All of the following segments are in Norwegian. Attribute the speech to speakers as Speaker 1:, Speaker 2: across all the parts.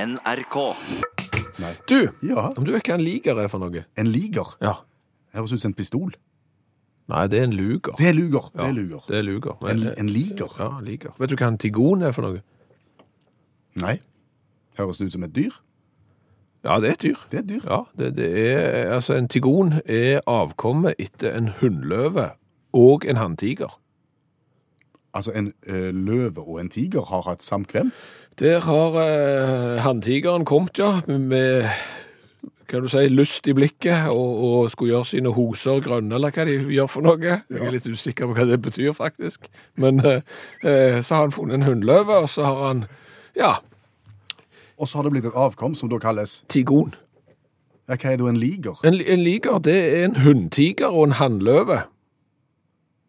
Speaker 1: NRK.
Speaker 2: Du,
Speaker 3: Ja.
Speaker 2: om du vet hva en liger er for noe?
Speaker 3: En liger.
Speaker 2: Ja.
Speaker 3: Høres ut som en pistol.
Speaker 2: Nei, det er en luger.
Speaker 3: Det er luger.
Speaker 2: Ja,
Speaker 3: Det er luger.
Speaker 2: Det er luger. Men-
Speaker 3: En, en liger.
Speaker 2: Ja, liger. Vet du hva en tigon er for noe?
Speaker 3: Nei. Høres det ut som et dyr?
Speaker 2: Ja, det er et dyr.
Speaker 3: Det er et dyr.
Speaker 2: Ja, det, det er, altså En tigon er avkommet etter en hunnløve og en hanntiger.
Speaker 3: Altså, en eh, løve og en tiger har hatt samkvem.
Speaker 2: Der har eh, hanntigeren kommet, ja, med kan du si, lyst i blikket og, og skulle gjøre sine hoser grønne, eller hva de gjør for noe. Jeg er litt usikker på hva det betyr, faktisk. Men eh, eh, så har han funnet en hunnløve, og så har han ja,
Speaker 3: Og så har det blitt et avkom som da kalles
Speaker 2: tigon.
Speaker 3: ja, Hva er da en liger?
Speaker 2: En, en liger, det er en hunntiger og en hannløve.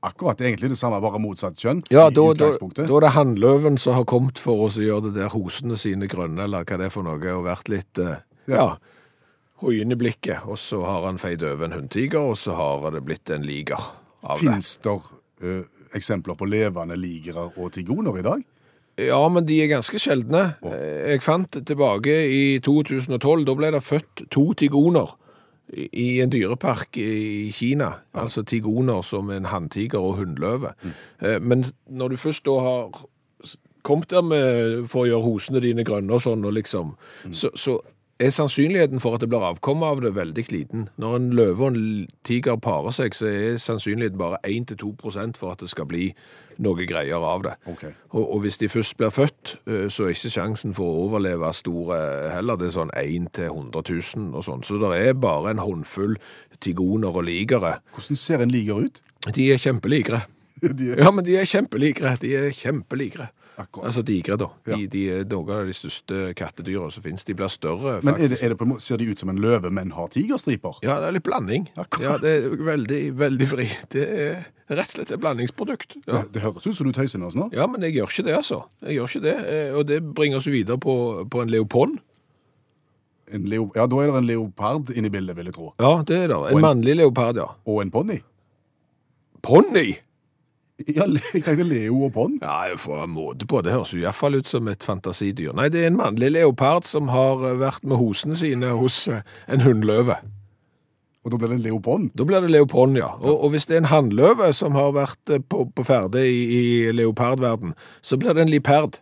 Speaker 3: Akkurat. Det er egentlig det samme, bare motsatt kjønn.
Speaker 2: Ja,
Speaker 3: i
Speaker 2: da, da,
Speaker 3: utgangspunktet.
Speaker 2: da er det hannløven som har kommet for oss å gjøre det der hosene sine grønne, eller hva det er for noe, og vært litt eh, ja. hoien i blikket. Og så har han feid over en hundtiger, og så har det blitt en liger av det.
Speaker 3: Finnes det eh, eksempler på levende ligere og tigoner i dag?
Speaker 2: Ja, men de er ganske sjeldne. Eh, Jeg fant tilbake i 2012, da ble det født to tigoner i i en dyrepark i Kina. Altså tigoner som en hanntiger og hundløve. Eh, Men når du først da har s- kommet der med, for å gjøre hosene dine grønne og sånn, og liksom, så, så er sannsynligheten for at det blir avkommet av det veldig liten. Når en løve og en l- tiger parer seg, så er sannsynligheten bare 1-2 prosent for at det skal bli noe greier av det.
Speaker 3: Ok.
Speaker 2: Og, og hvis de først blir født, eh, så er ikke sjansen for å overleve stor eh, heller. Det er sånn 1 til 100 000 og sånn. Så det er bare en håndfull tigoner og ligere.
Speaker 3: Hvordan ser en liger ut?
Speaker 2: De er kjempeligre.
Speaker 3: De er
Speaker 2: Ja, men de er kjempeligre. De er kjempeligre.
Speaker 3: akkurat.
Speaker 2: Altså digre, da. De,
Speaker 3: Ja.
Speaker 2: de er noen av de største kattedyra som finnes. De blir større,
Speaker 3: Men er
Speaker 2: faktisk.
Speaker 3: det, er det på en måte, ser de ut som en løve, men har tigerstriper?
Speaker 2: Ja, det er litt blanding.
Speaker 3: Akkurat.
Speaker 2: Ja, det er veldig, veldig fri. Det er rett og slett et blandingsprodukt. Ja.
Speaker 3: Det, det høres ut som du tøyser med oss nå.
Speaker 2: Ja, men jeg gjør ikke det, altså. Jeg gjør ikke det, eh, Og det bringer oss videre på, på en leopond.
Speaker 3: En leo, ja, da er det en leopard inne i bildet, vil jeg tro.
Speaker 2: Ja, det er det. En,
Speaker 3: en-
Speaker 2: mannlig leopard, ja.
Speaker 3: Og en ponni.
Speaker 2: Ponni!
Speaker 3: Ja, le- jeg tenkte leo og ponn.
Speaker 2: Ja, jeg får en måte på. Det høres jo iallfall ut som et fantasidyr. Nei, det er en mannlig leopard som har eh, vært med hosene sine hos eh, en hunnløve.
Speaker 3: Og da blir det en leopond.
Speaker 2: Da blir det leopond, ja. Og, og hvis det er en hannløve som har vært eh, på, på ferde i, i leopardverden, så blir det en liperd.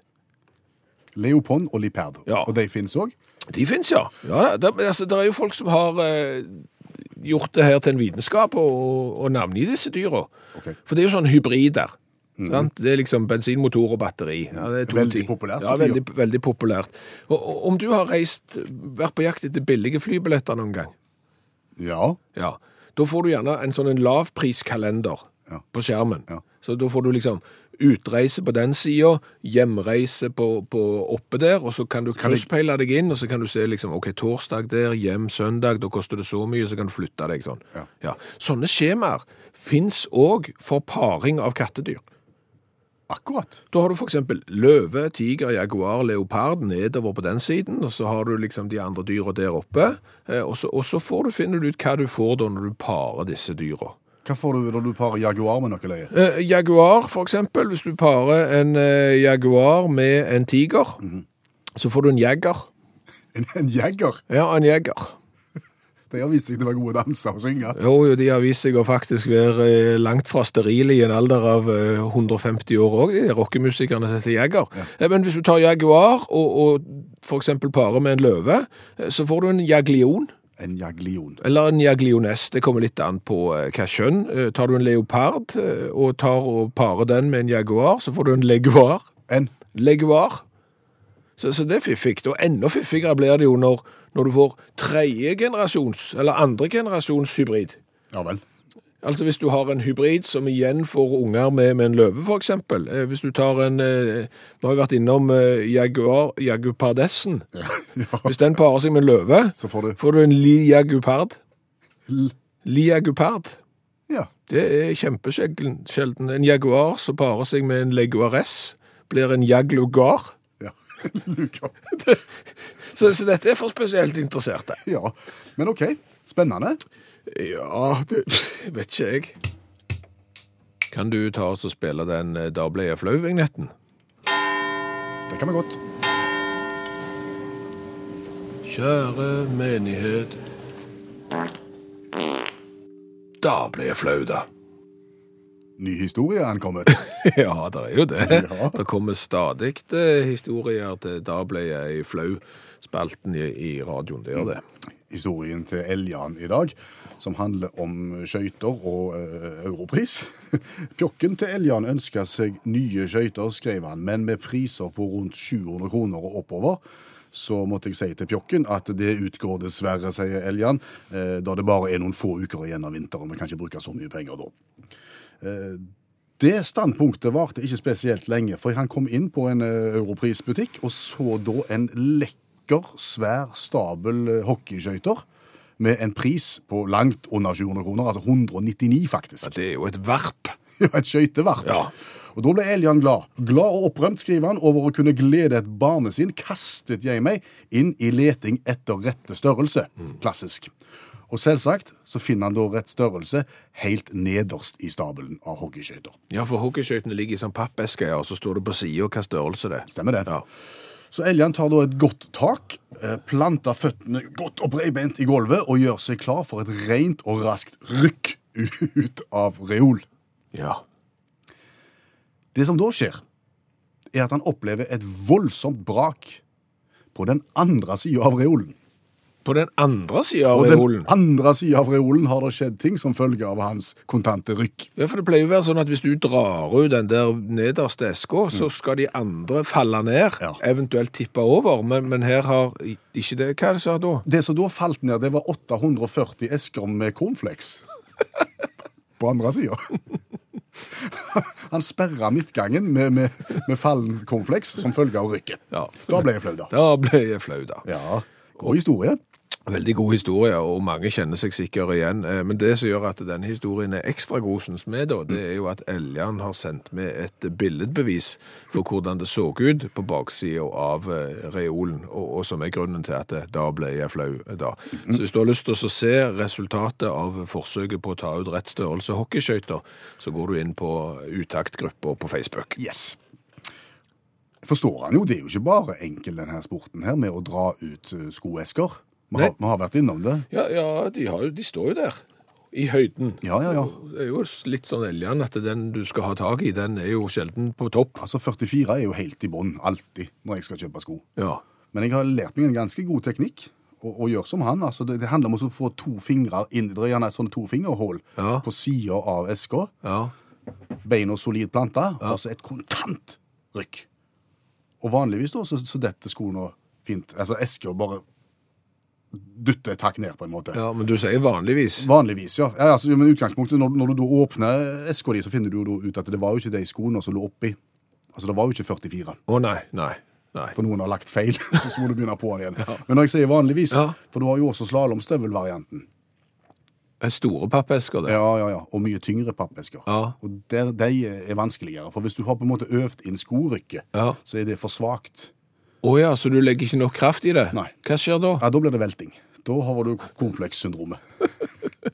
Speaker 3: Leopond og liperd.
Speaker 2: Ja.
Speaker 3: Og de finnes òg.
Speaker 2: De fins, ja. ja det, altså, det er jo folk som har eh, gjort det her til en vitenskap og, og navngitt disse dyra.
Speaker 3: Ok.
Speaker 2: For det er jo sånn hybrider. sant? Det er liksom bensinmotor og batteri. Ja, det er to
Speaker 3: Mm. Veldig
Speaker 2: ting.
Speaker 3: populært
Speaker 2: Ja,
Speaker 3: for tida.
Speaker 2: veldig, veldig populært. Og, og om du har reist, vært på jakt etter billige flybilletter noen gang,
Speaker 3: Ja.
Speaker 2: ja, da får du gjerne en sånn en lavpriskalender
Speaker 3: Ja.
Speaker 2: på skjermen.
Speaker 3: Ja.
Speaker 2: Så da får du liksom utreise på den sida, hjemreise på, på oppe der, og så kan du
Speaker 3: kan jeg-
Speaker 2: krysspeile deg inn, og så kan du se liksom, ok, torsdag der, hjem søndag, da koster det så mye, så kan du flytte deg sånn.
Speaker 3: Ja.
Speaker 2: Sånne skjemaer fins òg for paring av kattedyr.
Speaker 3: Akkurat.
Speaker 2: Da har du for eksempel løve, tiger, jaguar, leopard nedover på den siden, og så har du liksom de andre dyra der oppe, eh, og så, og så får du, finner du ut hva du får da når du parer disse dyra.
Speaker 3: Hva får du når du parer jaguar med noe løye?
Speaker 2: Eh, jaguar, for eksempel, hvis du parer en eh, jaguar med en tiger, så får du en jegger.
Speaker 3: En, en jeger.
Speaker 2: Ja, en jegger.
Speaker 3: De har vist seg til å være gode danser og synge.
Speaker 2: Jo, jo, de har vist seg å faktisk være eh, langt fra sterile i en alder av eh, 150 år òg, de rockemusikerne som heter Jagger. Eh, Men hvis du tar Jaguar og, og f.eks. parer med en løve, eh, så får du en jaglion.
Speaker 3: En jaglion.
Speaker 2: Eller en jaglioness, det kommer litt an på eh, hva kjønn. Eh, Tar du en leopard eh, og tar og parer den med en jaguar, så får du en leguar.
Speaker 3: En
Speaker 2: Leguar. Så, så det er fiffig. Og enda fiffigere blir det jo når, når du får tredje generasjons, eller andre generasjons hybrid.
Speaker 3: Ja vel.
Speaker 2: Altså hvis du har en hybrid som igjen får unger med, med en løve, for eksempel. Eh, Hvis du tar en eh, Vi har jo vært innom eh, jaguar, jagupardessen.
Speaker 3: Ja.
Speaker 2: Hvis den parer seg med en løve,
Speaker 3: Så får du
Speaker 2: får du en liagupard.
Speaker 3: l...
Speaker 2: Liagupard.
Speaker 3: Ja.
Speaker 2: Det er kjempesjelden. sjelden. En jaguar som parer seg med en leguaress, blir en jaglugar.
Speaker 3: Ja. Luker.
Speaker 2: Så, så dette er for spesielt interesserte.
Speaker 3: ja. Men OK. Spennende.
Speaker 2: Ja, det vet ikke jeg. Kan du ta oss og spille den eh, Da ble jeg flau-vignetten?
Speaker 3: Det kan vi godt.
Speaker 2: Kjære menighet. Da ble jeg flau, da.
Speaker 3: Ny historie er ankommet.
Speaker 2: Ja, det er jo det.
Speaker 3: Ja.
Speaker 2: Det kommer stadig eh, historier til Da ble jeg flau-spalten i, i radioen. Det gjør det.
Speaker 3: Historien til Eljan i dag, som handler om skøyter og eh, europris. Pjokken til Eljan ønska seg nye skøyter, skrev han, men med priser på rundt 700 kroner og oppover. Så måtte jeg si til Pjokken at det utgår dessverre, sier Eljan, eh, da det bare er noen få uker igjen av vinteren. Vi kan ikke bruke så mye penger da. Det standpunktet varte ikke spesielt lenge, for han kom inn på en eh, europrisbutikk og så da en lekker, svær stabel eh, hockeyskøyter med en pris på langt under 700 kroner, altså 199
Speaker 2: Ja,
Speaker 3: faktisk.
Speaker 2: det er jo et varp.
Speaker 3: Ja, Et skøytevarp.
Speaker 2: Ja.
Speaker 3: Og da ble Elian glad. Glad og opprømt, skriver han, over å kunne glede et barnesinn, kastet jeg meg inn i leting etter rette størrelse.
Speaker 2: Mm.
Speaker 3: Klassisk. Og selvsagt så finner han da rett størrelse helt nederst i stabelen av hockeyskøyter.
Speaker 2: Ja, for hockeyskøytene ligger i sånn pappeske, ja, og så står det på sida hva størrelse det er.
Speaker 3: Stemmer det.
Speaker 2: Ja.
Speaker 3: Så Eljan tar da et godt tak, eh, planter føttene godt og bredbent i gulvet og gjør seg klar for et rent og raskt rykk ut av reol.
Speaker 2: ja.
Speaker 3: Det som da skjer, er at han opplever et voldsomt brak på den andre sida av reolen.
Speaker 2: På den andre sida av
Speaker 3: På den
Speaker 2: reolen
Speaker 3: andre sida av reolen har det skjedd ting som følge av hans kontante rykk.
Speaker 2: Ja, for det pleier jo å være sånn at hvis du drar ut den der nederste eska, så skal de andre falle ned,
Speaker 3: Ja.
Speaker 2: eventuelt tippe over, men, men her har i- ikke det Hva er det som har da?
Speaker 3: Det som da falt ned, det var 840 esker med cornflakes. På andre sida. Han sperra midtgangen med, med, med fallen cornflakes som følge av rykket.
Speaker 2: Ja.
Speaker 3: Da ble jeg flau, da.
Speaker 2: Da ble jeg flau, da.
Speaker 3: Ja, God historie.
Speaker 2: Veldig god historie, og mange kjenner seg sikkert igjen. Eh, Men det som gjør at denne historien er ekstra god, syns vi, da, det er jo at Eljan har sendt med et billedbevis for hvordan det så ut på baksida av eh, reolen, og, og som er grunnen til at eh, da ble jeg flau eh, da. Så hvis du har lyst til å se resultatet av forsøket på å ta ut rett størrelse hockeyskøyter, så går du inn på utaktgruppa på Facebook.
Speaker 3: Yes. Forstår han jo, det er jo ikke bare enkel denne sporten her med å dra ut eh, skoesker. Vi har,
Speaker 2: Nei.
Speaker 3: vi har vært innom det.
Speaker 2: Ja, ja de, har, jo- de står jo der. I høyden.
Speaker 3: Ja, ja, ja.
Speaker 2: Det er jo litt sånn Eljan at den du skal ha tak i, den er jo sjelden på topp.
Speaker 3: Altså, 44 er jo helt i bånn, alltid, når jeg skal kjøpe sko.
Speaker 2: Ja.
Speaker 3: Men jeg har lært meg en ganske god teknikk. Og, og gjør som han. altså Det, det handler om å få to fingre inn, det er gjerne et sånn tofingerhull
Speaker 2: Ja.
Speaker 3: på sida av eska.
Speaker 2: ja.
Speaker 3: Beina solid planta, og så et kontant rykk. Og vanligvis da, så, så detter skoene fint. Altså eska bare dytter et hakk ned, på en måte.
Speaker 2: Ja, men du sier vanligvis.
Speaker 3: Vanligvis, ja. ja altså, men i utgangspunktet, når, når du da åpner eska di, så finner du jo da ut at det var jo ikke de skoene som lå oppi. Altså, det var jo ikke 44.
Speaker 2: Å nei, nei, nei.
Speaker 3: For noen har lagt feil, så må du begynne på den igjen. Men når jeg sier vanligvis,
Speaker 2: Ja.
Speaker 3: for du har jo også slalåmstøvelvarianten.
Speaker 2: Er Store pappesker det.
Speaker 3: Ja, ja, ja. Og mye tyngre pappesker.
Speaker 2: Ja.
Speaker 3: Og der, de er vanskeligere. For hvis du har på en måte øvd inn skorykket,
Speaker 2: Ja.
Speaker 3: så er det for svakt.
Speaker 2: Å ja, så du legger ikke nok kraft i det?
Speaker 3: Nei.
Speaker 2: Hva skjer da?
Speaker 3: Ja, da blir det velting. Da har du cornflakes-syndromet.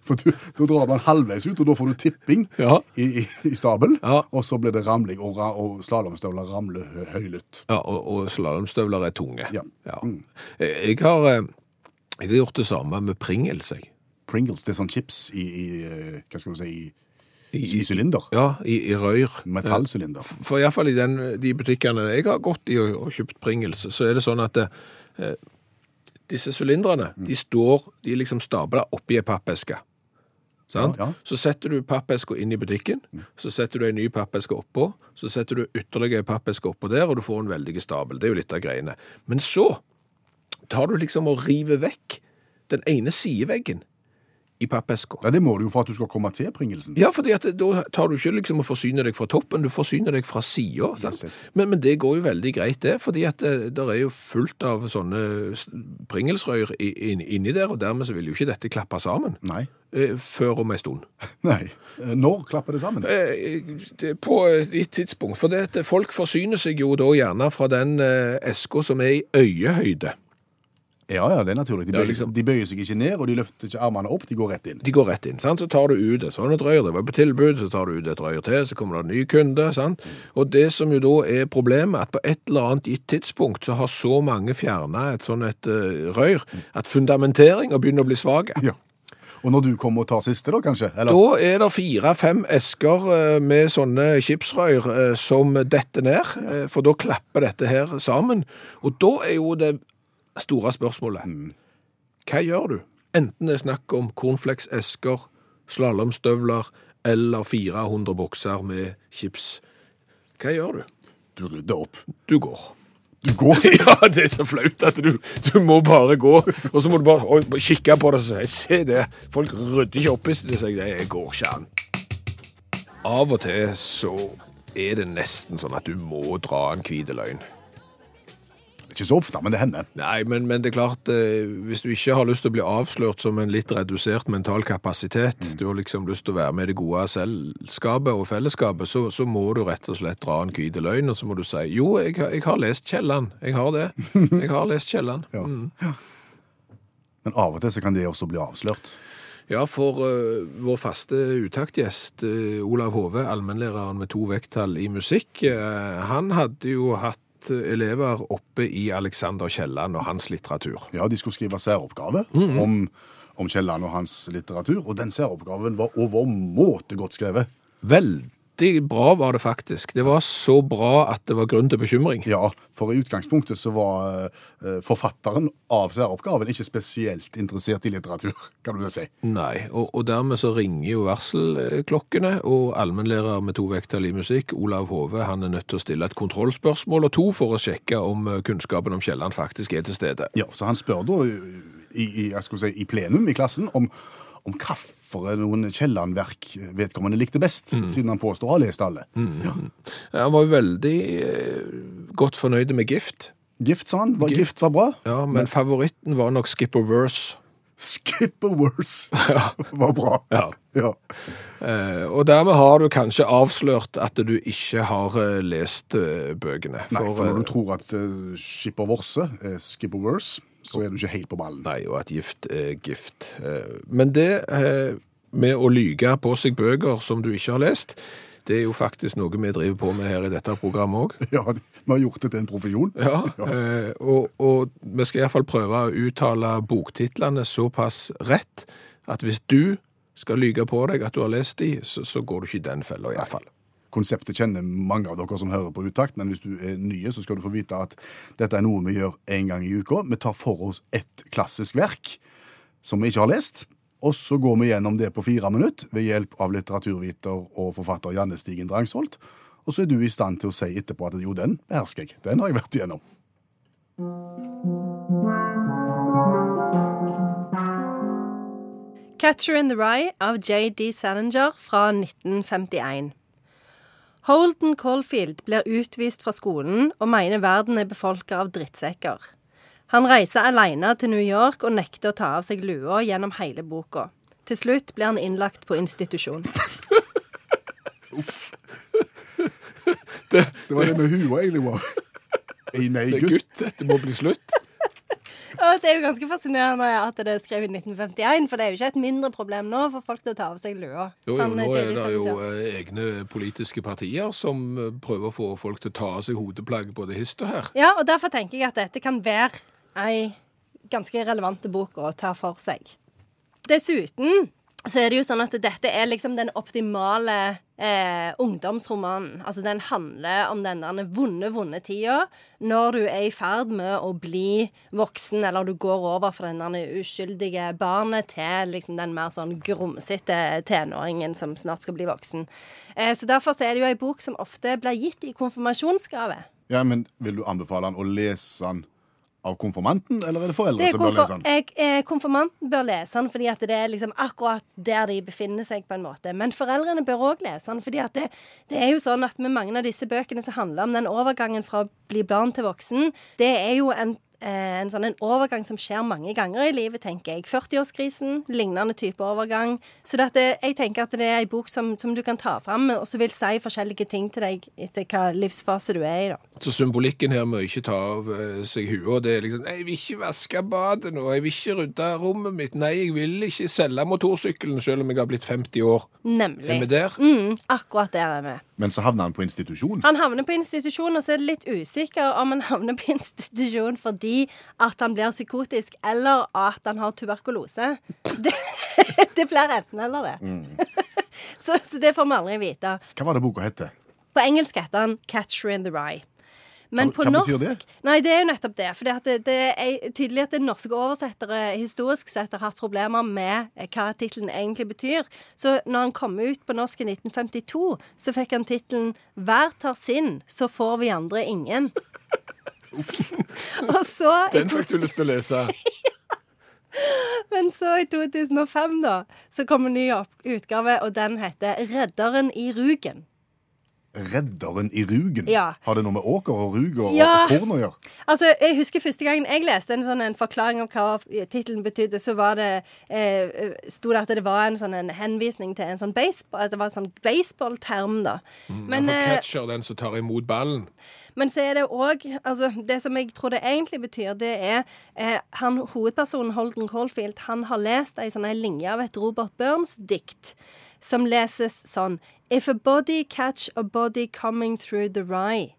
Speaker 3: For du, da drar man halvveis ut, og da får du tipping
Speaker 2: Ja.
Speaker 3: i, i, i stabel.
Speaker 2: Ja.
Speaker 3: Og så blir det ramling, og, ra- og slalåmstøvler ramler hø- høylytt.
Speaker 2: Ja, og, og slalåmstøvler er tunge.
Speaker 3: Ja. Mm.
Speaker 2: Jeg, jeg har, eh, jeg har gjort det samme med Pringles, jeg.
Speaker 3: Pringles, det er sånn chips i, i eh, Hva skal du si I, i,
Speaker 2: I-
Speaker 3: sylinder.
Speaker 2: Ja, i, i røyr.
Speaker 3: Metallsylinder.
Speaker 2: For i hvert fall i den, de butikkene jeg har gått i og, og kjøpt Pringles, så er det sånn at eh, disse sylindrene,
Speaker 3: Mm.
Speaker 2: de står, de er liksom stabla oppi ei pappeske. Sant?
Speaker 3: Ja, Mm. ja.
Speaker 2: Så setter du pappeska inn i butikken, så setter du ei ny pappeske oppå, så setter du ytterligere ei pappeske oppå der, og du får en veldig stabel. Det er jo litt av greiene. Men så tar du liksom og river vekk den ene sideveggen i pappeska.
Speaker 3: Ja, Det må du jo for at du skal komme til Pringelsen.
Speaker 2: Ja, fordi at da tar du ikke liksom å forsyne deg fra toppen, du forsyner deg fra sida.
Speaker 3: Yes, yes.
Speaker 2: Men, men det går jo veldig greit, det. fordi at eh, det der er jo fullt av sånne s- pringelsrøyr i- inn- inni der, og dermed så vil jo ikke dette klappe sammen
Speaker 3: Nei.
Speaker 2: eh, før om ei stund.
Speaker 3: Nei. Eh, Når klapper det sammen?
Speaker 2: Eh, det- På et tidspunkt. For det at folk forsyner seg jo da gjerne fra den eh, eska som er i øyehøyde.
Speaker 3: Ja, ja, det er naturlig. De
Speaker 2: Ja,
Speaker 3: bøyer,
Speaker 2: liksom.
Speaker 3: de bøyer seg ikke ned, og de løfter ikke armene opp, de går rett inn.
Speaker 2: De går rett inn, sant? så tar du ut et sånt et røyr, det var på tilbud, så tar du ut et røyr til, så kommer det en ny kunde. sant? Og det som jo da er problemet, at på et eller annet gitt tidspunkt så har så mange fjerna et sånt et eh, røyr at fundamenteringa begynner å bli svak.
Speaker 3: Ja. Og når du kommer og tar siste, da, kanskje? Eller?
Speaker 2: Da er det fire-fem esker eh, med sånne chipsrøyr eh, som detter ned, eh, for da klapper dette her sammen. Og da er jo det store spørsmålet. Hva gjør du? Enten det er snakk om cornflakes-esker, slalåmstøvler eller 400 bokser med chips. Hva gjør du?
Speaker 3: Du rydder opp.
Speaker 2: Du går.
Speaker 3: Du går sikkert.
Speaker 2: Ja, det er så flaut at du, du må bare gå, og så må du bare oi, kikke på det og si Se det, folk rydder ikke opp i seg, det går ikke an. Av og til så er det nesten sånn at du må dra en hvit løgn.
Speaker 3: Ikke så ofte, men det hender.
Speaker 2: Nei, men, men det er klart, eh, hvis du ikke har lyst til å bli avslørt som en litt redusert mental kapasitet, du har liksom lyst til å være med i det gode selskapet og fellesskapet, så, så må du rett og slett dra en hvite løgn, og så må du si, jo, jeg, har- jeg har lest Kjelland, jeg har det, jeg har lest Mm. Kjelland.
Speaker 3: Ja. Men av og til så kan det også bli avslørt.
Speaker 2: Ja, for eh, vår faste uttaktgjest, eh, Olav Hove, allmennlæreren med to vekttall i musikk, eh, han hadde jo hatt elever oppe i Alexander Kielland og hans litteratur.
Speaker 3: Ja, de skulle skrive særoppgave
Speaker 2: Mm.
Speaker 3: om, om Kielland og hans litteratur, og den særoppgaven var overmåte godt skrevet.
Speaker 2: Veldig bra var det faktisk. Det var så bra at det var grunn til bekymring.
Speaker 3: Ja, for i utgangspunktet så var eh, forfatteren av særoppgaven ikke spesielt interessert i litteratur, kan du vel si.
Speaker 2: Nei, og, og dermed så ringer jo varselklokkene, og allmennlærer med to vekttall i musikk, Olav Hove, han er nødt til å stille et kontrollspørsmål og to for å sjekke om eh, kunnskapen om Kielland faktisk er til stede.
Speaker 3: Ja, så han spør da eh, i, i, jeg skulle si, i plenum i klassen om, om hvilke noen Kielland-verk vedkommende likte best,
Speaker 2: Mm.
Speaker 3: siden han påstår å ha lest alle. Ja.
Speaker 2: Han var jo veldig eh, godt fornøyd med gift.
Speaker 3: Gift, sa han. Var, gift. var bra.
Speaker 2: Ja, men favoritten var nok Skip og Verse.
Speaker 3: Skip a worse var bra.
Speaker 2: Ja.
Speaker 3: Ja.
Speaker 2: Eh, og dermed har du kanskje avslørt at du ikke har eh, lest eh, bøkene.
Speaker 3: Nei, for
Speaker 2: eh,
Speaker 3: når du tror at uh, skip og vorse er skip og worse, så er du ikke helt på ballen.
Speaker 2: Nei, og at gift er gift. Eh, Men det eh, med å lyge på seg bøker som du ikke har lest, det er jo faktisk noe vi driver på med her i dette programmet òg.
Speaker 3: Ja, Vi har gjort det til en profesjon.
Speaker 2: Ja, eh, og, og vi skal iallfall prøve å uttale boktitlene såpass rett at hvis du skal lyge på deg at du har lest de, så, så går du ikke i den fella iallfall.
Speaker 3: Konseptet kjenner mange av dere som hører på Utakt, men hvis du er nye, så skal du få vite at dette er noe vi gjør én gang i uka. Vi tar for oss et klassisk verk som vi ikke har lest, og så går vi gjennom det på fire minutter ved hjelp av litteraturviter og forfatter Janne Stigen Drangsholt. Og så er du i stand til å si etterpå at jo, den behersker jeg. Den har jeg vært igjennom.
Speaker 1: Catcher in the Rye av J.D. Salinger fra 1951. Holden Caulfield blir utvist fra skolen og mener verden er befolket av drittsekker. Han reiser alene til New York og nekter å ta av seg lua gjennom hele boka. Til slutt blir han innlagt på institusjon.
Speaker 3: Det var det med huet, egentlig. Wow. Ei nei,
Speaker 2: Det er
Speaker 3: gutt.
Speaker 2: gutt, dette må bli slutt.
Speaker 1: Ja, Det er jo ganske fascinerende at det er skrevet i 1951, for det er jo ikke et mindre problem nå for folk til å ta av seg lua.
Speaker 2: Jo, jo,
Speaker 1: Han,
Speaker 2: nå
Speaker 1: J.D.
Speaker 2: er det jo
Speaker 1: Salinger.
Speaker 2: eh, egne politiske partier som eh, prøver å få folk til å ta av seg hodeplagg både hist og her.
Speaker 1: Ja, og derfor tenker jeg at dette kan være ei ganske relevant bok å ta for seg. Dessuten så er det jo sånn at dette er liksom den optimale eh, ungdomsromanen. Altså den handler om den der vonde, vonde tida når du er i ferd med å bli voksen, eller du går over fra den der uskyldige barnet til liksom den mer sånn grumsete tenåringen som snart skal bli voksen. Eh, så derfor så er det jo ei bok som ofte blir gitt i konfirmasjonsgave.
Speaker 3: Ja, men Vil du anbefale han å lese han av konfirmanten, eller er det foreldre
Speaker 1: Det er
Speaker 3: som bør
Speaker 1: konfir-
Speaker 3: lese han?
Speaker 1: jeg, eh, konfirmanten bør lese den fordi at det er liksom akkurat der de befinner seg. på en måte. Men foreldrene bør òg lese den. fordi at det, det er jo sånn at med mange av disse bøkene som handler om den overgangen fra å bli barn til voksen, det er jo en eh, en sånn en overgang som skjer mange ganger i livet, tenker jeg. 40-årskrisen, lignende type overgang. Så dette, jeg tenker at det er ei bok som, som du kan ta fram, og som vil si forskjellige ting til deg etter hva livsfase du er i, da.
Speaker 2: Så symbolikken her med å ikke ta av eh, seg huet, det er liksom Nei, jeg vil ikke vaske badet nå, jeg vil ikke rydde rommet mitt, nei, jeg vil ikke selge motorsykkelen selv om jeg har blitt 50 år.
Speaker 1: Nemlig.
Speaker 2: Er vi der?
Speaker 1: Mm, akkurat der er vi.
Speaker 3: Men så havna han på institusjon.
Speaker 1: Han havner på institusjon, og så er det litt usikker om han havner på institusjon fordi at han blir psykotisk, eller at han har tuberkulose. Det, det blir enten eller, det. Så, så det får vi aldri vite.
Speaker 3: Hva var det boka het?
Speaker 1: På engelsk heter han 'Catcher in the Rye'. Men
Speaker 3: Hva-
Speaker 1: på
Speaker 3: hva
Speaker 1: norsk
Speaker 3: betyr det?
Speaker 1: Nei, det er jo nettopp det. For det, det er tydelig at det norske oversettere historisk sett har hatt problemer med eh, hva tittelen egentlig betyr. Så når han kom ut på norsk i 1952, så fikk han tittelen 'Hver tar sin, så får vi andre ingen'. Og så i
Speaker 2: Den fikk du lyst til å lese.
Speaker 1: Men så i 2005 da, så kom en ny opp- utgave, og den heter 'Redderen i Rugen'.
Speaker 3: 'Redderen i Rugen'.
Speaker 1: Ja.
Speaker 3: Har det noe med åker og ruger og,
Speaker 1: Ja.
Speaker 3: og korn å gjøre?
Speaker 1: Altså, jeg husker Første gangen jeg leste en sånn en forklaring om hva tittelen betydde, så var det, eh, sto det at det var en sånn en henvisning til en sånn baseball, at det var en sånn baseballterm. da. Men,
Speaker 2: For
Speaker 1: eh,
Speaker 2: catcher, den som tar imot ballen.
Speaker 1: men så er det òg altså, Det som jeg tror det egentlig betyr, det er eh, han hovedpersonen Holden Caulfield han har lest ei sånn ei linje av et Robert Burns-dikt som leses sånn If a body catch a body coming through the rye.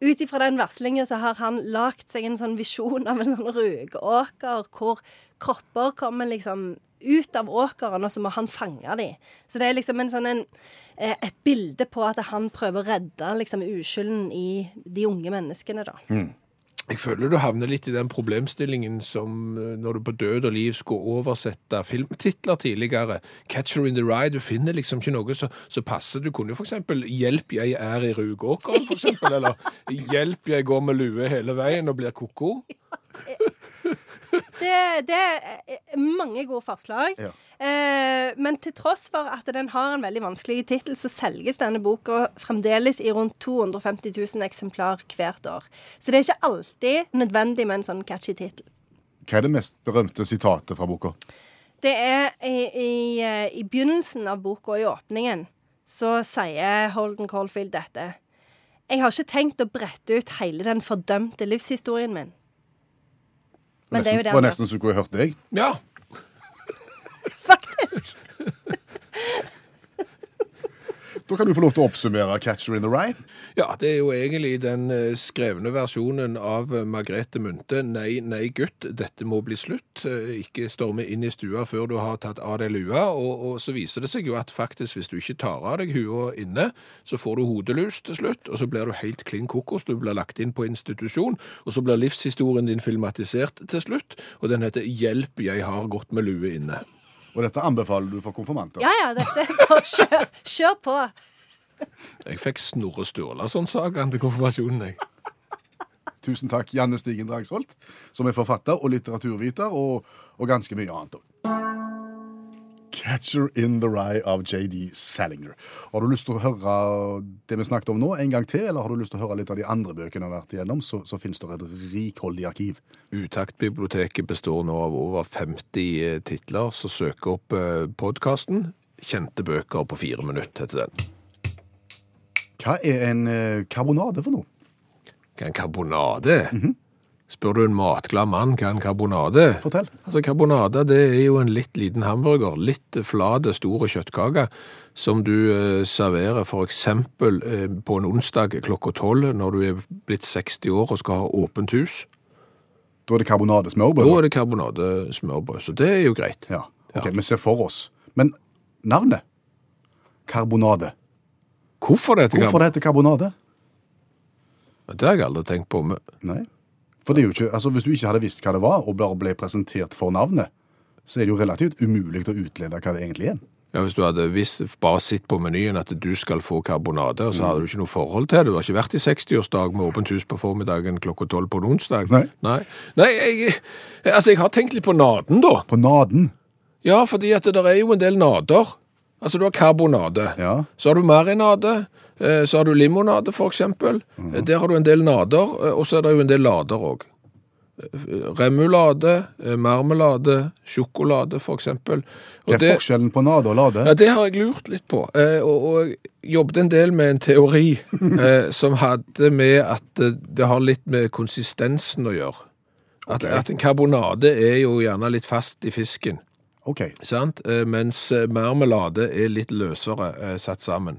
Speaker 1: Ut ifra den varslinga så har han lagt seg en sånn visjon av en sånn rugeåker hvor kropper kommer liksom ut av åkeren, og så må han fange dem. Så det er liksom en sånn en, eh, et bilde på at han prøver å redde liksom uskylden i de unge menneskene, da.
Speaker 2: Jeg føler du havner litt i den problemstillingen som eh, når du på død og liv skulle oversette filmtitler tidligere. 'Catcher in the Rye', du finner liksom ikke noe som som passer. Du kunne jo f.eks. 'Hjelp, jeg er i rugåkeren', f.eks. eksempel Eller 'Hjelp, jeg går med lue hele veien og blir ko-ko'.
Speaker 1: Det, det er mange gode forslag.
Speaker 3: Ja.
Speaker 1: Eh, men til tross for at den har en veldig vanskelig tittel, så selges denne boka fremdeles i rundt 250 000 eksemplar hvert år. Så det er ikke alltid nødvendig med en sånn catchy tittel.
Speaker 3: Hva er det mest berømte sitatet fra boka?
Speaker 1: Det er i, i, eh, i begynnelsen av boka, i åpningen, så sier Holden Caulfield dette. Jeg har ikke tenkt å brette ut hele den fordømte livshistorien min. Men det er jo det
Speaker 3: var
Speaker 1: han gjør.
Speaker 3: nesten så du kunne hørt deg.
Speaker 2: Ja,
Speaker 1: Faktisk.
Speaker 3: Da kan du få lov til å oppsummere 'Catcher in the Rye'.
Speaker 2: Ja, det er jo egentlig den eh, skrevne versjonen av eh, Margrethe Munthe. Nei, nei gutt, dette må bli slutt. Eh, Ikke storme inn i stua før du har tatt av deg lua. Og, og så viser det seg jo at faktisk hvis du ikke tar av deg hua inne, så får du hodelus til slutt, og så blir du helt klin kokos. Du blir lagt inn på institusjon, og så blir livshistorien din filmatisert til slutt. Og den heter 'Hjelp, jeg har gått med lue inne'.
Speaker 3: Og dette anbefaler du for konfirmanter.
Speaker 1: Ja ja, dette bare kjør, kjør på.
Speaker 2: Jeg fikk Snorre Sturlason-sagaen til konfirmasjonen, jeg.
Speaker 3: Tusen takk, Janne Stigen Dragsholt, som er forfatter og litteraturviter, og, og ganske mye annet òg. 'Catcher in the Rye' av JD Salinger. Har du lyst til å høre det vi snakket om nå, en gang til, eller har du lyst til å høre litt av de andre bøkene vi har vært igjennom, så, så finnes det et rikholdig arkiv.
Speaker 2: Utaktbiblioteket består nå av over 50 titler, så søk opp podkasten. Kjente bøker på fire minutter heter den.
Speaker 3: Hva er en eh, karbonade for noe?
Speaker 2: Hva er en karbonade?
Speaker 3: Mhm.
Speaker 2: Spør du en matglad mann hva er en karbonade er?
Speaker 3: Fortell.
Speaker 2: Altså, karbonade det er jo en litt liten hamburger, litt flate, store kjøttkake, som du eh, serverer for eksempel eh, på en onsdag klokka tolv når du er blitt 60 år og skal ha åpent hus.
Speaker 3: Da er det karbonadesmørbrød.
Speaker 2: Da er det karbonadesmørbrød, så det er jo greit.
Speaker 3: Ja, ok, vi ser for oss. Men navnet? Karbonade.
Speaker 2: Hvorfor det?
Speaker 3: Hvorfor det heter karbonade?
Speaker 2: Det har jeg aldri tenkt på. men-
Speaker 3: Nei. For det er jo ikke, altså Hvis du ikke hadde visst hva det var, og bare ble presentert for navnet, så er det jo relativt umulig å utlede hva det egentlig er.
Speaker 2: Ja, Hvis du hadde visst, bare sett på menyen at du skal få karbonade, og så hadde du ikke noe forhold til det. Du har ikke vært i 60-årsdag med åpent hus på formiddagen klokka tolv på en onsdag.
Speaker 3: Nei.
Speaker 2: Nei, Nei jeg, altså, jeg har tenkt litt på naden, da.
Speaker 3: På naden.
Speaker 2: Ja, fordi at det der er jo en del nader. Altså, du har karbonade.
Speaker 3: Ja.
Speaker 2: Så har du marinade.
Speaker 3: Mhm.
Speaker 2: eh, Så har du limonade, for eksempel. Eh, Der har du en del nader, eh, og så er det jo en del lader òg. remulade, eh, marmelade, sjokolade for eksempel.
Speaker 3: Hva
Speaker 2: Og
Speaker 3: er forskjellen på nade og lade?
Speaker 2: Ja, det har jeg lurt litt på. Eh, og, og jeg jobbet en del med en teori eh, som hadde med at eh, det har litt med konsistensen å gjøre. At,
Speaker 3: Ok.
Speaker 2: at en karbonade er jo gjerne litt fast i fisken,
Speaker 3: OK.
Speaker 2: sant? Eh, mens eh, marmelade er litt løsere eh, satt sammen.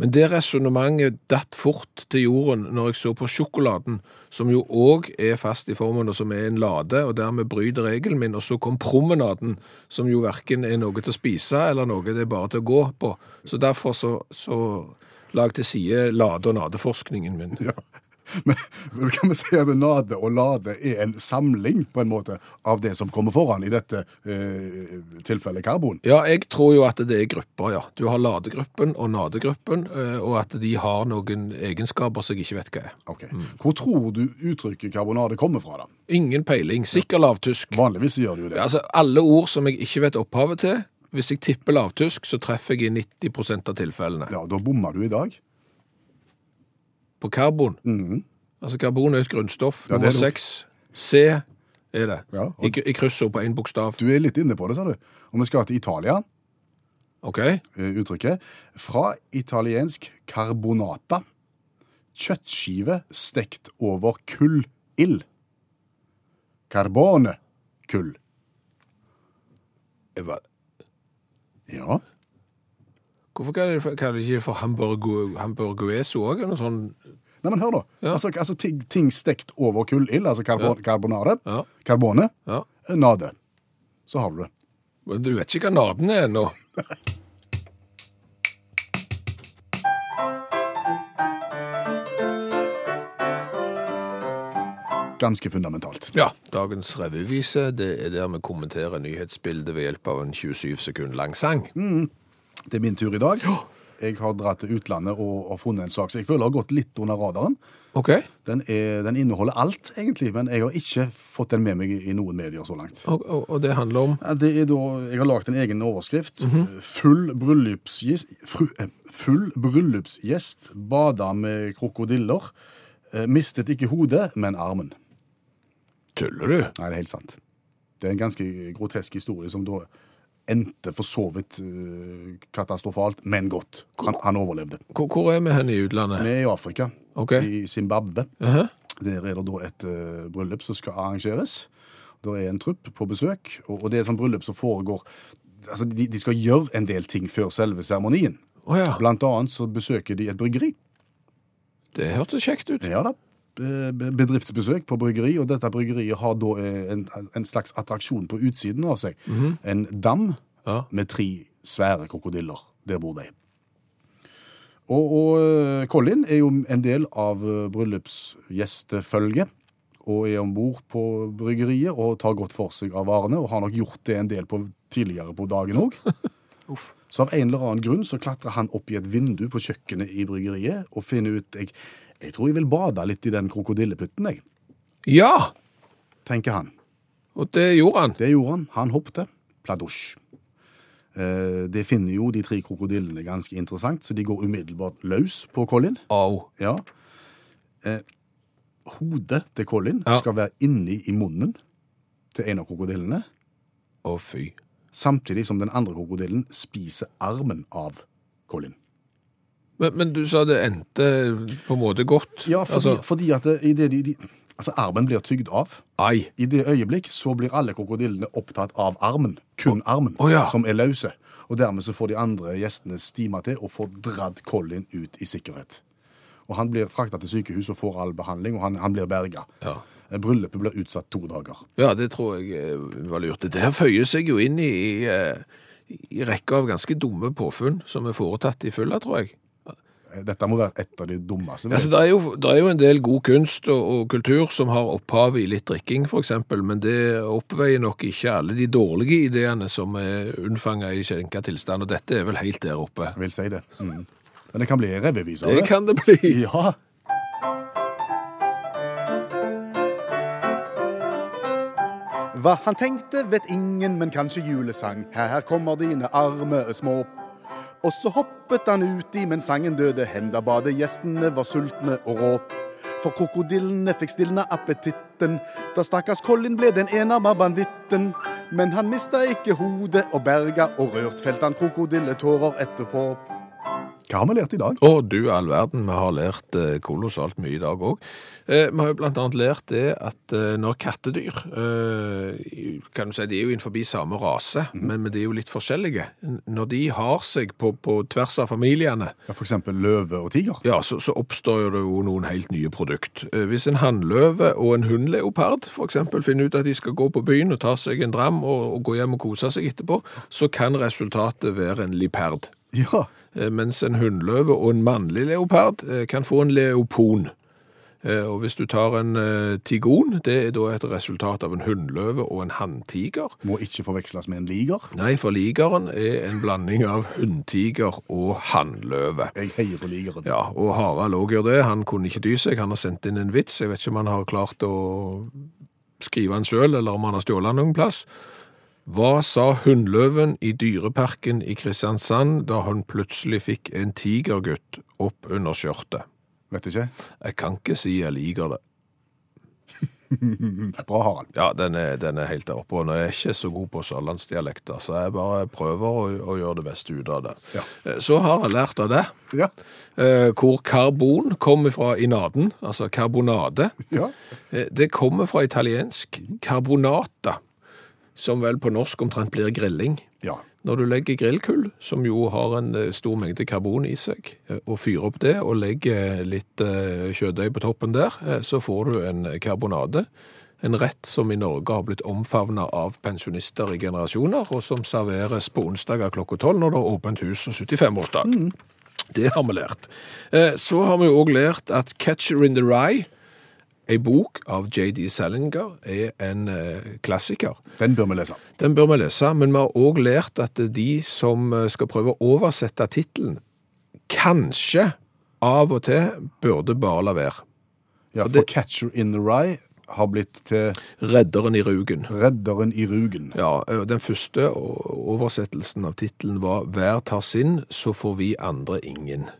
Speaker 2: Men det resonnementet datt fort til jorden når jeg så på sjokoladen, som jo òg er fast i formen, og som er en lade, og dermed bryter regelen min. Og så kom promenaden, som jo verken er noe til å spise eller noe det er bare til å gå på. Så derfor så, så lag til side lade- og nadeforskningen min.
Speaker 3: Ja. Men, men kan vi si at nade og lade er en samling på en måte av det som kommer foran, i dette eh, tilfellet karbon?
Speaker 2: Ja, jeg tror jo at det er grupper, ja. Du har ladegruppen og nadegruppen, eh, og at de har noen egenskaper som jeg ikke vet hva er.
Speaker 3: Ok. Hvor tror du uttrykket karbonade kommer fra, da?
Speaker 2: Ingen peiling. Sikker lavtysk.
Speaker 3: Vanligvis gjør det jo det.
Speaker 2: Altså, alle ord som jeg ikke vet opphavet til, hvis jeg tipper lavtysk, så treffer jeg i 90 av tilfellene.
Speaker 3: Ja, Da bomma du i dag. Mhm,
Speaker 2: På karbon. Altså, karbon er et grunnstoff.
Speaker 3: Ja, det er
Speaker 2: Nummer
Speaker 3: det.
Speaker 2: seks. C er det.
Speaker 3: Ja, og-
Speaker 2: I, I kryssord på én bokstav.
Speaker 3: Du er litt inne på det, sa du. Og vi skal til Italia,
Speaker 2: OK?
Speaker 3: eh, uttrykket. Fra italiensk carbonata. Kjøttskive stekt over kullild. Carbone. Kull.
Speaker 2: Jeg var-
Speaker 3: Ja.
Speaker 2: Hvorfor kaller de det for- kaller de ikke det for hamburgo- hamburgueso òg, eller sånn? noe sånt?
Speaker 3: Nei, men hør nå.
Speaker 2: Ja.
Speaker 3: Altså, altså ting, ting stekt over kullild, altså karbon, karbonare,
Speaker 2: Ja.
Speaker 3: karbone,
Speaker 2: ja.
Speaker 3: eh, nade. Så har du det.
Speaker 2: Men du vet ikke hva naden er ennå.
Speaker 3: Ganske fundamentalt.
Speaker 2: Ja. Dagens revyvise det er der vi kommenterer nyhetsbildet ved hjelp av en 27 sekund lang sang.
Speaker 3: Det er min tur i dag. Jeg har dratt til utlandet og, og funnet en sak, så jeg føler jeg har gått litt under radaren.
Speaker 2: OK?
Speaker 3: Den, er, den inneholder alt, egentlig, men jeg har ikke fått den med meg i, i noen medier så langt.
Speaker 2: Og, og, og det handler om
Speaker 3: Ja, Det er da, jeg har lagt en egen overskrift. Full bryllupsgjest, fru- eh, full bryllupsgjest bada med krokodiller. Eh, Mistet ikke hodet, men armen.
Speaker 2: Tuller du?
Speaker 3: Nei, det er helt sant. Det er en ganske grotesk historie som da endte for så vidt øh, katastrofalt, men godt. Han, han overlevde.
Speaker 2: Hvor, hvor er vi hen i utlandet?
Speaker 3: Vi er i Afrika,
Speaker 2: Ok.
Speaker 3: i Zimbabwe.
Speaker 2: Aha.
Speaker 3: Der er det da et øh, bryllup som skal arrangeres. Der er en trupp på besøk, og, og det er et sånt bryllup som foregår Altså, de, de skal gjøre en del ting før selve seremonien.
Speaker 2: Å ja.
Speaker 3: Blant annet så besøker de et bryggeri.
Speaker 2: Det hørtes kjekt ut.
Speaker 3: Ja da. Be- Eh, be- Bedriftsbesøk på bryggeri, og dette bryggeriet har da eh, en, en slags attraksjon på utsiden av seg. En dam
Speaker 2: Ja.
Speaker 3: med tre svære krokodiller. Der bor de. Og, og eh, Colin er jo en del av eh, bryllupsgjestefølget. Og er om bord på bryggeriet og tar godt for seg av varene. Og har nok gjort det en del på, tidligere på dagen òg. Så av en eller annen grunn så klatrer han opp i et vindu på kjøkkenet i bryggeriet og finner ut Jeg, jeg tror jeg vil bade litt i den krokodilleputten, jeg,
Speaker 2: Ja!
Speaker 3: tenker han.
Speaker 2: Og det gjorde han.
Speaker 3: Det gjorde han. Han hoppte. Pladosj. Eh, Det finner jo de tre krokodillene ganske interessant, så de går umiddelbart løs på Colin.
Speaker 2: Au.
Speaker 3: Ja. Eh, Hodet til Colin
Speaker 2: Ja.
Speaker 3: skal være inni i munnen til en av krokodillene,
Speaker 2: Å, fy.
Speaker 3: samtidig som den andre krokodillen spiser armen av Colin.
Speaker 2: Men, men du sa det endte på en måte godt.
Speaker 3: Ja, fordi,
Speaker 2: Altså,
Speaker 3: fordi at det, i det de, de Altså, armen blir tygd av.
Speaker 2: ai.
Speaker 3: I det øyeblikk så blir alle krokodillene opptatt av armen. Kun armen,
Speaker 2: Å ja.
Speaker 3: som er løse. Og dermed så får de andre gjestene stima til og får dratt Colin ut i sikkerhet. Og han blir frakta til sykehus og får all behandling, og han, han blir berga. Eh,
Speaker 2: Ja.
Speaker 3: Bryllupet blir utsatt to dager.
Speaker 2: Ja, det tror jeg eh, var lurt. Det her føyer seg jo inn i, i, eh, i rekka av ganske dumme påfunn som er foretatt i fylla, tror jeg.
Speaker 3: Eh, Dette må være et av de dummeste.
Speaker 2: Altså, det, er jo, det er jo en del god kunst og, og kultur som har opphav i litt drikking, for eksempel, men det oppveier nok ikke alle de dårlige ideene som er unnfanga i skjenka tilstand, og dette er vel helt der oppe.
Speaker 3: Jeg vil si det. Mm. Men det kan bli revyvis av
Speaker 2: Det kan det bli.
Speaker 3: Ja. Hva han tenkte, vet ingen, men kanskje julesang. Her kommer dine arme små. Og så hoppet han uti, men sangen døde hen da badegjestene var sultne og rå. For krokodillen fikk stilna appetitten. Da stakkars Colin ble den enarma banditten. Men han mista ikke hodet og berga, og rørt felte han krokodilletårer etterpå. Hva har vi lært i dag?
Speaker 2: Å, du all verden, vi har lært eh, kolossalt mye i dag òg. Eh, vi har jo blant annet lært det at eh, når kattedyr eh, i- kan du si, De er jo innenfor samme rase, men, men de er jo litt forskjellige. N- Når de har seg på, på tvers av familiene,
Speaker 3: Ja, for eksempel løve og tiger.
Speaker 2: ja, så, så oppstår det jo noen helt nye produkt. Eh, Hvis en hannløve og en hundleopard f.eks. finner ut at de skal gå på byen og ta seg en dram og, og gå hjem og kose seg etterpå, så kan resultatet være en liperd.
Speaker 3: Ja,
Speaker 2: Eh, mens en hundløve og en mannlig leopard eh, kan få en leopon. Eh, Og hvis du tar en eh, tigon, det er da et resultat av en hundløve og en hanntiger.
Speaker 3: Må ikke forveksles med en liger.
Speaker 2: Nei, for ligeren er en blanding av hundtiger og hannløve.
Speaker 3: Jeg heier på ligeren.
Speaker 2: Ja, og Harald òg gjør det. Han kunne ikke dy seg. Han har sendt inn en vits. Jeg vet ikke om han har klart å skrive den sjøl, eller om han har stjålet den noen plass. Hva sa hunnløven i Dyreparken i Kristiansand da han plutselig fikk en tigergutt opp under skjørtet?
Speaker 3: Vet ikke.
Speaker 2: Jeg kan ikke si jeg liker det.
Speaker 3: Hm, Bra, Harald.
Speaker 2: Ja, den er, den er helt der oppe, og nå er jeg ikke så god på sørlandsdialekter, så jeg bare prøver å, å gjøre det beste ut av det.
Speaker 3: Ja.
Speaker 2: Eh, Så har jeg lært av det.
Speaker 3: Ja.
Speaker 2: eh, Hvor karbon kommer fra i naden, altså karbonade.
Speaker 3: ja.
Speaker 2: Eh, Det kommer fra italiensk carbonata, som vel på norsk omtrent blir grilling.
Speaker 3: ja.
Speaker 2: Når du legger grillkull, som jo har en eh, stor mengde karbon i seg, eh, og fyrer opp det og legger litt eh, kjøttdeig på toppen der, eh, så får du en karbonade. En rett som i Norge har blitt omfavna av pensjonister i generasjoner, og som serveres på onsdager klokka tolv når det er åpent hus og 75-årsdag. Det har vi lært. Eh, Så har vi jo òg lært at 'Catcher in the Rye', ei bok av J.D. Salinger, er en eh, klassiker.
Speaker 3: Den bør vi lese.
Speaker 2: Den bør vi lese, men vi har òg lært at de som eh, skal prøve å oversette tittelen, kanskje av og til burde bare la være.
Speaker 3: Ja, for
Speaker 2: det-
Speaker 3: Catcher in the Rye har blitt til
Speaker 2: Redderen i rugen.
Speaker 3: Redderen i rugen.
Speaker 2: Ja, ø, Den første o- oversettelsen av tittelen var 'Hver tar sin, så får vi andre ingen'.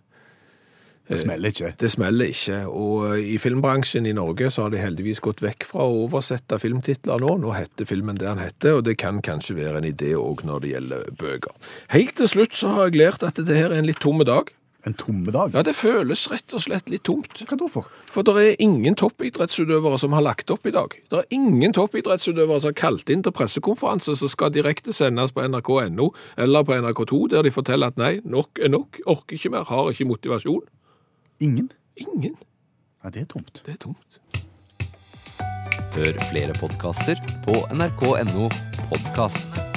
Speaker 2: Eh.
Speaker 3: Det smeller ikke.
Speaker 2: Det smeller ikke, og ø, i filmbransjen i Norge så har de heldigvis gått vekk fra å oversette filmtitler nå. Nå heter filmen det han heter, og det kan kanskje være en idé òg når det gjelder bøker. Helt til slutt så har jeg lært at dette her er en litt tomme dag.
Speaker 3: En tomme dag.
Speaker 2: Ja, det føles rett og slett litt tomt.
Speaker 3: Hva da for?
Speaker 2: For det er ingen toppidrettsutøvere som har lagt opp i dag. Det er ingen toppidrettsutøvere som har kalt inn til pressekonferanse som skal direkte sendes på nrk.no eller på NRK2, der de forteller at nei, nok er nok, orker ikke mer, har ikke motivasjon.
Speaker 3: Ingen.
Speaker 2: Ingen.
Speaker 3: Ja, det er tomt.
Speaker 2: Det er tomt.
Speaker 4: Hør flere podkaster på nrk.no podkast.